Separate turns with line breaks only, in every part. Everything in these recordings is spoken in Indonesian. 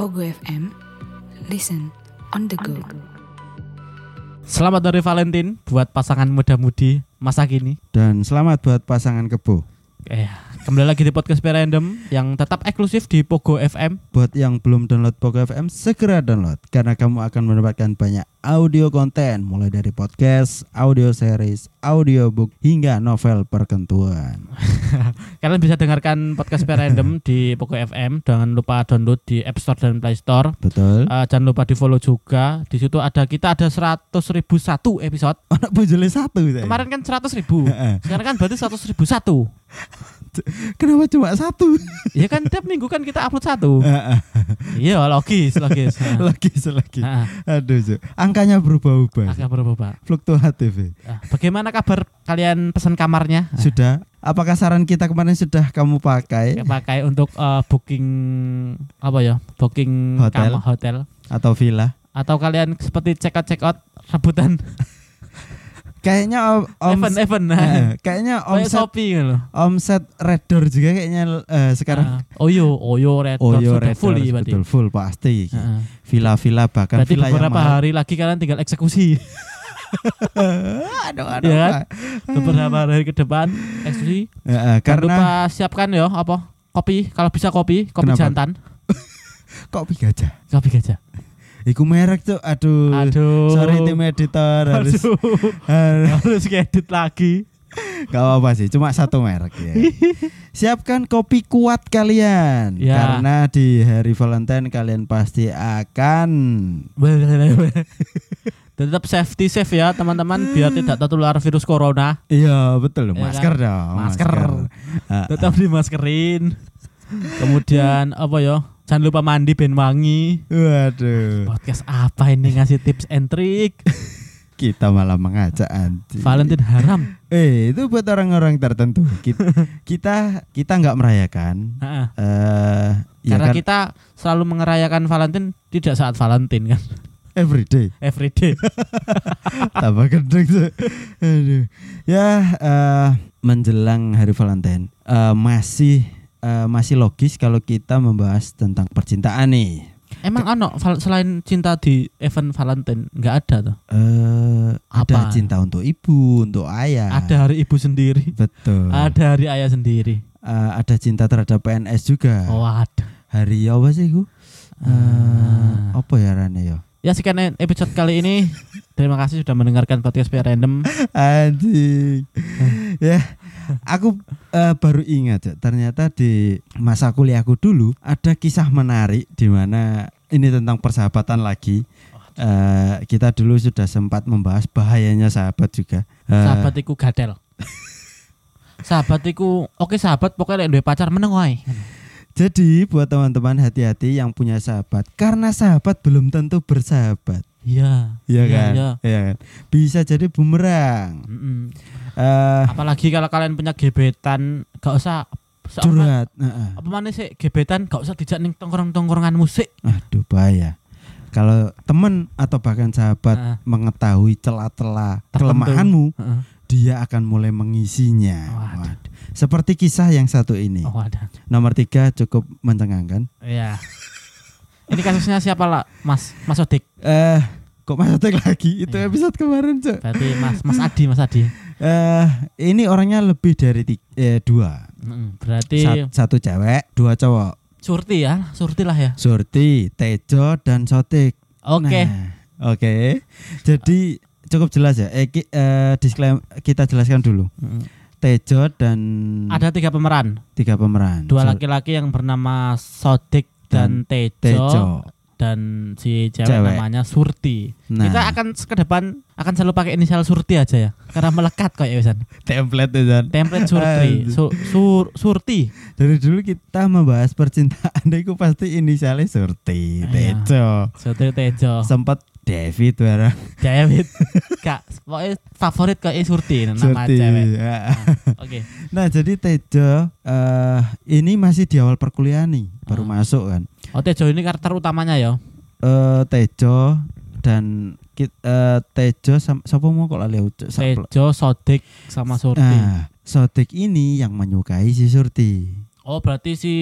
Ogo FM. Listen on the go.
Selamat hari Valentine buat pasangan muda-mudi masa kini.
Dan selamat buat pasangan kebo.
Eh, kembali lagi di podcast Pia Random yang tetap eksklusif di Pogo FM.
Buat yang belum download Pogo FM, segera download karena kamu akan mendapatkan banyak audio konten mulai dari podcast, audio series, audiobook hingga novel perkentuan.
Kalian bisa dengarkan podcast Pia Random di Pogo FM. Jangan lupa download di App Store dan Play Store.
Betul.
Eh, jangan lupa di follow juga. Di situ ada kita ada 100.001 episode.
Oh, Anak bujule satu saya.
Kemarin kan 100.000. Sekarang kan berarti 100.001.
Kenapa cuma satu?
Iya kan tiap minggu kan kita upload satu.
Heeh.
Iya logis, logis. Nah,
lagi selagi.
nah,
Aduh, Cuk. angkanya berubah-ubah.
agak berubah.
Fluktuatif. ya.
Ah, Bagaimana kabar kalian pesan kamarnya? Ah,
Sudah. Apakah saran kita kemarin sudah kamu pakai
Pakai untuk eh, booking apa ya? Booking
Hotel.
kamar hotel
atau villa?
atau kalian seperti check out check out rebutan
Kayaknya om, om
event event.
Heeh, kayaknya
Kayak
Eh, omset
Shopee gitu loh.
omset Red Door juga kayaknya eh, sekarang
Ah, Oyo, Oyo Red Door
Oyo
sudah
Red
full
Doors,
ya berarti.
betul full pasti iki.
Ah,
Villa-villa bahkan
berarti
villa yang
beberapa
mahal. Hmm.
hari lagi kalian tinggal eksekusi.
aduh
Iya
aduh.
kan?
Pak.
beberapa hari ke depan eksekusi.
Eh, eh,
Jangan
karena
lupa siapkan ya apa? Kopi, kalau bisa kopi, kopi
Kenapa?
jantan,
kopi gajah.
kopi gajah.
Iku merek tuh aduh.
Aduh.
Sorry tim editor harus
Aduh,
harus-
harus ngedit lagi.
Gak apa-apa sih, cuma satu merek ya. Siapkan kopi kuat kalian
Ya.
karena di hari Valentine kalian pasti akan
Tetap safety safe ya teman-teman biar tidak tertular virus corona.
Iya, betul.
Ya
Masker
kan?
dong,
Masker.
Ah, ah.
Tetap dimaskerin. Kemudian apa ya? Jangan lupa mandi ben wangi.
Waduh.
Podcast apa ini ngasih tips and trick?
Kita malah mengajak anti.
Valentine haram.
Eh, itu buat orang-orang tertentu. Kita kita kita nggak merayakan.
Heeh.
Eh, ya
Karena
kan
kita selalu mengerayakan Valentine tidak saat Valentine kan,
every day
every day.
tambah gendeng tuh. Aduh. Ya, eh, menjelang hari Valentine eh, masih eh, masih logis kalau kita membahas tentang percintaan nih.
Emang ono val- selain cinta di event Valentine nggak ada tuh.
Eh,
Apa?
ada cinta untuk ibu, untuk ayah.
Ada hari ibu sendiri,
Betul.
ada hari ayah sendiri.
Eh, ada cinta terhadap PNS juga.
Oh, ada.
Hari apa sih iku? Eh,
Ah.
apa ya rane ya?
Ya sekian episode kali ini. Terima kasih sudah mendengarkan podcast PR Random.
Eh. Anjing. ya, aku eh, baru ingat Cak. ternyata di masa kuliahku dulu ada kisah menarik di mana ini tentang persahabatan lagi. Eh, kita dulu sudah sempat membahas bahayanya sahabat juga. Eh,
Sahabatiku gadel. Sahabatiku, oke sahabat pokoknya lek duwe pacar meneng wae.
Jadi buat teman-teman hati-hati yang punya sahabat karena sahabat belum tentu bersahabat.
Iya.
Iya kan?
Iya.
Iya kan? Bisa jadi bumerang.
Mm-mm.
Eh
Apalagi kalau kalian punya gebetan, gak usah se- apa-
curhat. Heeh.
Apa mana sih gebetan gak usah dijak ning tongkrong-tongkrongan musik.
Aduh bahaya. Kalau teman atau bahkan sahabat
Heeh.
mengetahui celah-celah
Nah. Tertentu.
kelemahanmu,
Heeh.
dia akan mulai mengisinya.
Waduh.
Waduh. Seperti kisah yang satu ini.
Oh, ada.
Nomor tiga cukup mencengangkan.
Iya. Ini kasusnya siapa lah, Mas? Mas Odik.
Eh, kok Mas Otek lagi? Itu
Iya.
episode kemarin, Cok.
Berarti Mas Mas Adi, Mas Adi.
Eh, ini orangnya lebih dari tiga, eh, dua.
Mm-mm. Berarti
Sat- satu cewek, dua cowok.
Surti ya, Surti lah ya.
Surti, Tejo dan Sotik.
Oke.
Nah, Oke. Jadi cukup jelas ya. Eh, ki- eh, disclaim- kita jelaskan dulu.
Mm.
Tejo dan Hmm.
Ada tiga pemeran,
tiga pemeran.
dua
Sur-
laki-laki yang bernama Sodik dan, Tejo, Oh.
Tejo.
dan si cewek,
Cewek.
namanya Surti.
Nah,
Kita akan ke depan akan selalu pakai inisial Surti aja ya, karena melekat kok ya Wisan.
template tuh, Zan.
Template Surti,
Eh.
Su- Sur- Surti.
Dari dulu kita membahas percintaan itu pasti inisialnya Surti,
Iya.
Tejo.
Surti Tejo,
Sempat David barang.
David. Kak, pokoknya favorit kok ya Surti nama
Surti.
cewek.
Ya.
Oke.
Nah, jadi Tejo eh ini masih di awal perkuliahan nih, baru
Ah.
masuk kan.
Oh Tejo ini karakter utamanya ya.
eh Tejo dan kit, eh, Tejo sam- siapa mau kok lali aku, Cuk? Sam- Eh.
Tejo, Sodik sama Surti.
Nah, Sodik ini yang menyukai si Surti.
Oh berarti si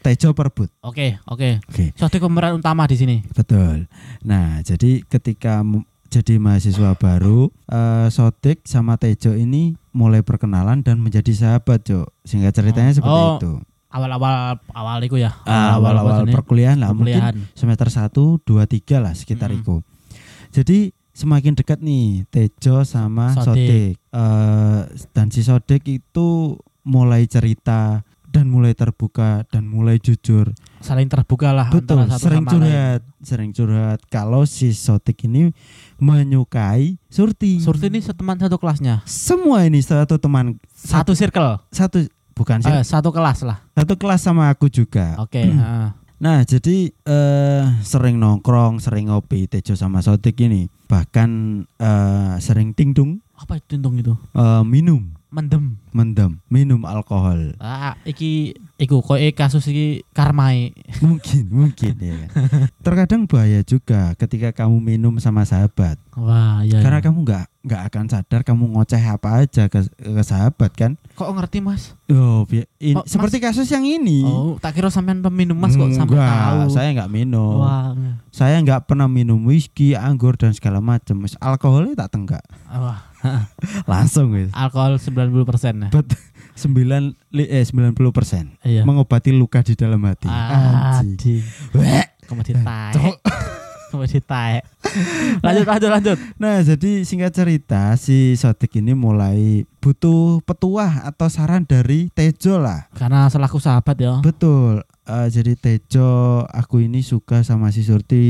Tejo Perbut.
oke oke.
Oke.
Sodik pemeran utama di sini.
Betul. Nah, jadi ketika m- jadi mahasiswa baru, eh, Sotik sama Tejo ini mulai perkenalan dan menjadi sahabat, Cok. Sehingga ceritanya seperti
Oh,
itu. Ah,
Awal-awal awal itu ya.
Awal-awal
apa
perkuliahan lah, mungkin
perkuliahan.
semester 1, 2, 3 lah sekitar
Mm-mm.
itu. Jadi semakin dekat nih Tejo sama
Sodik.
Sodik. Eh, dan si Sodik itu mulai cerita dan mulai terbuka dan mulai jujur
saling terbuka lah
Betul,
antara satu
sering
sama lain.
curhat, sering curhat. Kalau si Sotik ini menyukai Surti.
Surti ini teman satu kelasnya.
Semua ini satu teman
Satu circle.
satu bukan sih,
Eh, Oh. satu kelas lah.
satu kelas sama aku juga.
Oke, eh. heeh.
Nah, jadi eh sering nongkrong, sering ngopi Tejo sama Sotik ini. Bahkan eh sering tingdung
Apa itu untung itu?
eh, minum,
Mendem.
mendem, minum alkohol.
Ah, iki iku koe kasus iki karmai.
mungkin, mungkin ya. Terkadang bahaya juga ketika kamu minum sama sahabat.
Wah, iya.
Karena
iya.
kamu nggak nggak akan sadar kamu ngoceh apa aja ke, ke sahabat kan?
kok ngerti, Mas?
Oh, bi- ini-
Oh, Mas-
seperti kasus yang ini.
Oh, tak kira sampean peminum Mas kok sampai
Nggak,
tahu.
Saya nggak minum.
Wah,
Saya nggak pernah minum whisky, anggur dan segala macam. Wis, Alkoholnya tak tenggak.
wah,
Langsung wis.
alkohol 90% ya.
Bet 9 li- eh 90%
Iya.
mengobati luka di dalam hati. Ya. Anjing.
Adi.
Wek.
Kamu ditaek.
Cok.
Kamu ditaek. Lanjut, lanjut, lanjut.
Nah, jadi singkat cerita si Sodik ini mulai butuh petuah atau saran dari Tejo lah.
Karena selaku sahabat ya.
Betul. Eh, jadi Tejo, aku ini suka sama si Surti.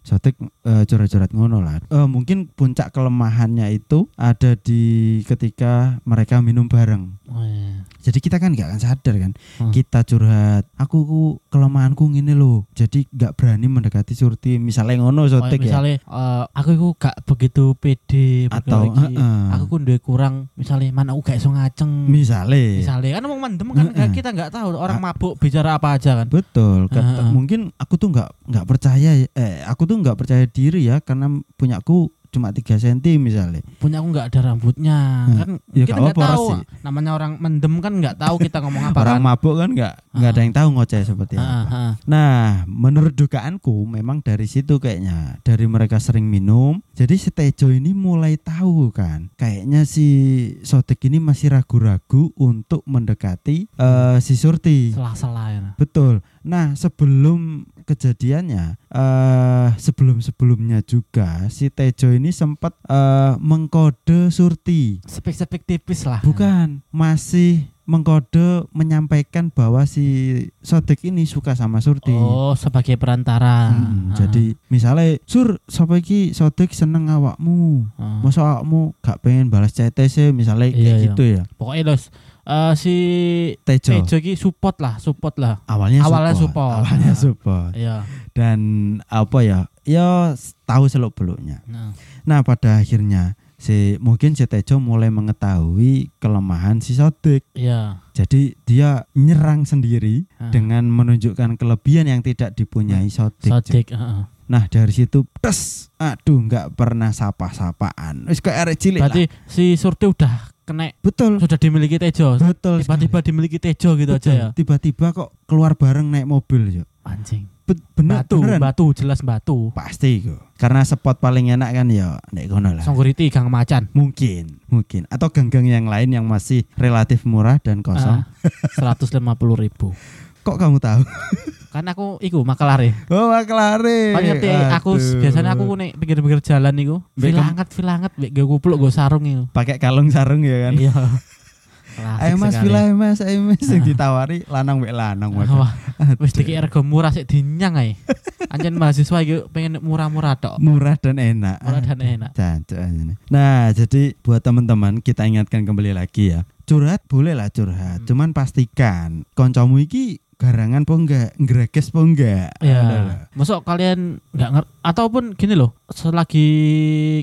Sotek eh, coret-coret ngono lah. Eh, mungkin puncak kelemahannya itu ada di ketika mereka minum bareng.
Oh, iya.
Jadi kita kan nggak akan sadar kan.
Hmm.
Kita curhat. Aku ku, kelemahanku ngene loh. Jadi nggak berani mendekati Surti. Misalnya ngono
Kayak
Sotek ya.
misalnya eh, aku itu gak begitu pede
Atau
bergaul iki.
eh, eh.
aku ku duwe kurang misalnya mana aku gak iso ngaceng
misalnya.
misalnya kan emang mendem kan
Eh, eh.
kita nggak tahu orang mabuk bicara apa aja kan
Betul. Kata-
Ah, ah.
Mungkin aku tuh nggak nggak percaya. Eh, aku tuh nggak percaya diri ya karena punyaku cuma 3 cm misalnya.
punya aku nggak ada rambutnya
Eh,
kan
ya
kita nggak
nggak apa-apa
tahu
sih.
namanya orang mendem kan nggak tahu kita ngomong apa
Orang
kan
mabuk kan nggak nggak ada yang tahu ngoceh seperti
Ah,
apa.
ah.
Nah, menurut dugaanku memang dari situ kayaknya dari mereka sering minum. Jadi si Tejo ini mulai tahu kan. Kayaknya si Sotik ini masih ragu-ragu untuk mendekati eh, si Surti.
Selah-selah ya.
Betul. Nah, sebelum kejadiannya eh sebelum-sebelumnya juga si Tejo ini sempat eh, mengkode Surti.
Sepik-sepik tipis lah.
Bukan, masih mengkode menyampaikan bahwa si Sodik ini suka sama Surti.
Oh, sebagai perantara.
Mm,
Ah.
Jadi misalnya Sur, sapa iki Sodik seneng awakmu.
Ah.
Masa awakmu gak pengen balas CTC misalnya
Iya,
kayak
iya.
gitu ya.
pokoknya los eh, si
Tejo.
Tejo iki support lah, support lah.
Awalnya,
Awalnya support.
Awalnya
Ah.
support.
Iya.
Dan apa ya? Ya tahu seluk beluknya.
Nah,
Nah pada akhirnya si mungkin si Tejo mulai mengetahui kelemahan si Sodik.
iya.
Jadi dia nyerang sendiri
Ah.
dengan menunjukkan kelebihan yang tidak dipunyai Sodik.
Sodik, heeh.
Nah dari situ tes, aduh nggak pernah sapa-sapaan. Wis kayak arek cilik lah.
Berarti si Surti udah kena
Betul,
sudah dimiliki Tejo.
betul.
Tiba-tiba
sekali.
dimiliki Tejo gitu aja
Betul.
ya.
Tiba-tiba kok keluar bareng naik mobil yo.
Anjing.
Be- Bener,
Batu,
beneran.
batu jelas batu.
Pasti kok. Karena spot paling enak kan ya nek kono lah.
Songguriti Gang Macan.
Mungkin, mungkin. Atau genggang yang lain yang masih relatif murah dan
Ah.
kosong.
Seratus lima puluh ribu.
Kok kamu tahu?
Kan aku iku makelar ya.
Oh, maklare.
Kan ngerti aku biasanya aku nek pinggir-pinggir jalan iku,
Mbek kem-
vilanget vilanget mbek gue kupluk gue sarung iku.
pakai kalung sarung ya kan.
Iya. Ah.
Ayo Mas, bila ayo Mas, ayo Mas yang ditawari lanang wek lanang. waduh.
Wah, wis dikit rego murah sik dinyang ae. Anjen mahasiswa iki pengen murah-murah tok.
Murah dan enak.
Murah dan enak.
Jancuk aja nih. Nah, jadi buat teman-teman kita ingatkan kembali lagi ya. Curhat bolehlah curhat,
Hmm.
cuman pastikan koncomu iki garangan po enggak, ngreges po enggak. Aduh.
Ya, masuk kalian nggak ngerti ataupun gini loh, selagi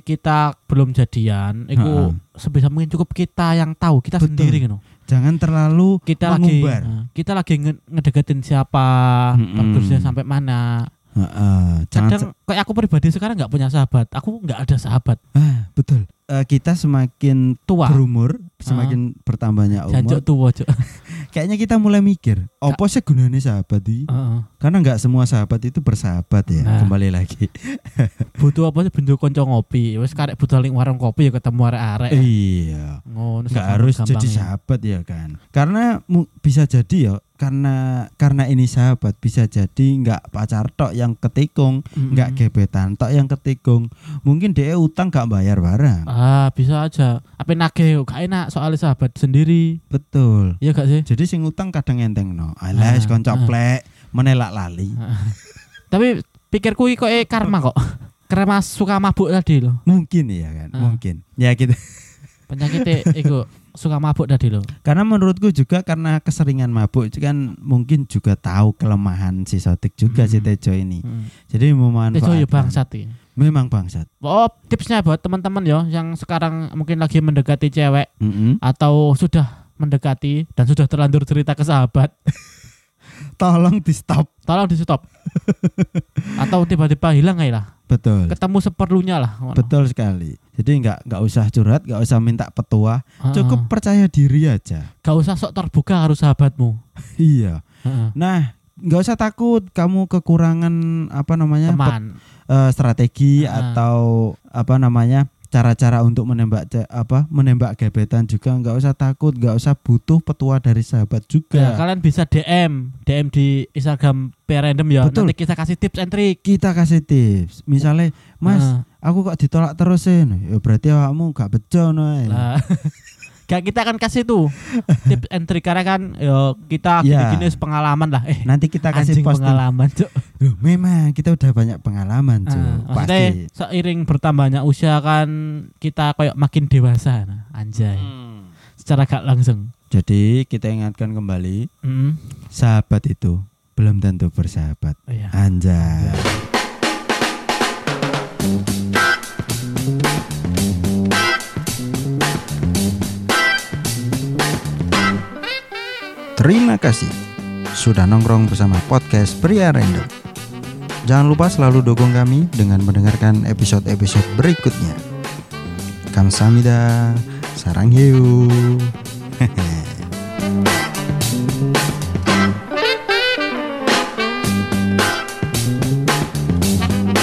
kita belum jadian, itu
Ha-ha.
sebisa mungkin cukup kita yang tahu kita
Betul.
sendiri gitu.
Jangan terlalu
Kita
mengumbar.
lagi, eh, kita lagi nge- ngedeketin siapa,
Mm-mm.
bagusnya sampai mana.
Heeh, jangan
Kadang kayak aku pribadi sekarang nggak punya sahabat, aku nggak ada sahabat.
Ah, betul. eh, kita semakin
Tua.
berumur, semakin bertambahnya
Ah. Jancuk tua,
umur,
Cuk.
kayaknya kita mulai mikir, opo sih gunanya sahabat ini?
Heeh.
Karena nggak semua sahabat itu bersahabat
Ah.
ya.
Nah.
Kembali lagi.
Butuh apa sih bentuk konco ngopi. Wis karek butuh ling warung kopi ya ketemu arek-arek.
Iya.
Ngono
nggak
segampang-
harus jadi
gampangnya.
sahabat ya kan karena mu- bisa jadi ya karena karena ini sahabat bisa jadi nggak pacar tok yang ketikung
Mm-mm.
nggak gebetan tok yang ketikung mungkin dia utang nggak bayar barang
Ah, bisa aja. Apa nage gak enak soalnya sahabat sendiri.
betul
Iya gak sih?
jadi sing utang kadang enteng no
Ah,
alas kon
ah.
coplek menelak lali
Tapi pikirku iki kok eh, karma kok. Karena suka mabuk tadi loh.
mungkin ya kan
Ah.
mungkin ya gitu
Penyakitnya e, iku suka mabuk tadi loh.
karena menurutku juga karena keseringan mabuk itu kan mungkin juga tahu kelemahan si sotik juga si
Mm.
Tejo ini
Heeh.
jadi
Itu
memanfaatkan
ya bangsat iki.
memang bangsat
Oh, tipsnya buat teman-teman ya yang sekarang mungkin lagi mendekati cewek
Mm-mm.
atau sudah mendekati dan sudah terlanjur cerita ke sahabat,
tolong di stop
tolong di stop. atau tiba-tiba hilang aja lah.
betul
Ketemu seperlunya lah. ngono.
betul sekali jadi nggak nggak usah curhat nggak usah minta petua
Heeh.
cukup percaya diri aja
Ah, Gak usah sok terbuka harus sahabatmu.
iya
Heeh.
nah nggak usah takut kamu kekurangan apa namanya pet-
Teman.
eh, strategi
Ah.
atau apa namanya cara-cara untuk menembak ce- apa menembak gebetan juga nggak usah takut nggak usah butuh petua dari sahabat
Ya,
juga
kalian bisa DM, DM di Instagram Perandom ya.
Betul.
Nanti kita kasih tips and trick.
kita kasih tips misalnya mas
Heeh.
aku kok ditolak terusin ya berarti awakmu gak bejo no eh."
Lah. Gak kita akan kasih tuh tips and trick karena kan yo kita
Ya.
gini-gini pengalaman lah. Eh,
nanti kita kasih
anjing
posting
pengalaman, Cuk.
Loh, memang kita udah banyak pengalaman, cuy.
Ah,
Pasti.
maksudnya seiring bertambahnya usia kan kita kayak makin dewasa, nah, anjay. Secara gak langsung.
Jadi kita ingatkan kembali,
Mm.
sahabat itu belum tentu bersahabat.
Iya.
Anjay. Terima kasih sudah nongkrong bersama podcast Pria Random. Jangan lupa selalu dukung kami dengan mendengarkan episode-episode berikutnya. Kamsahamnida, sarang hiu.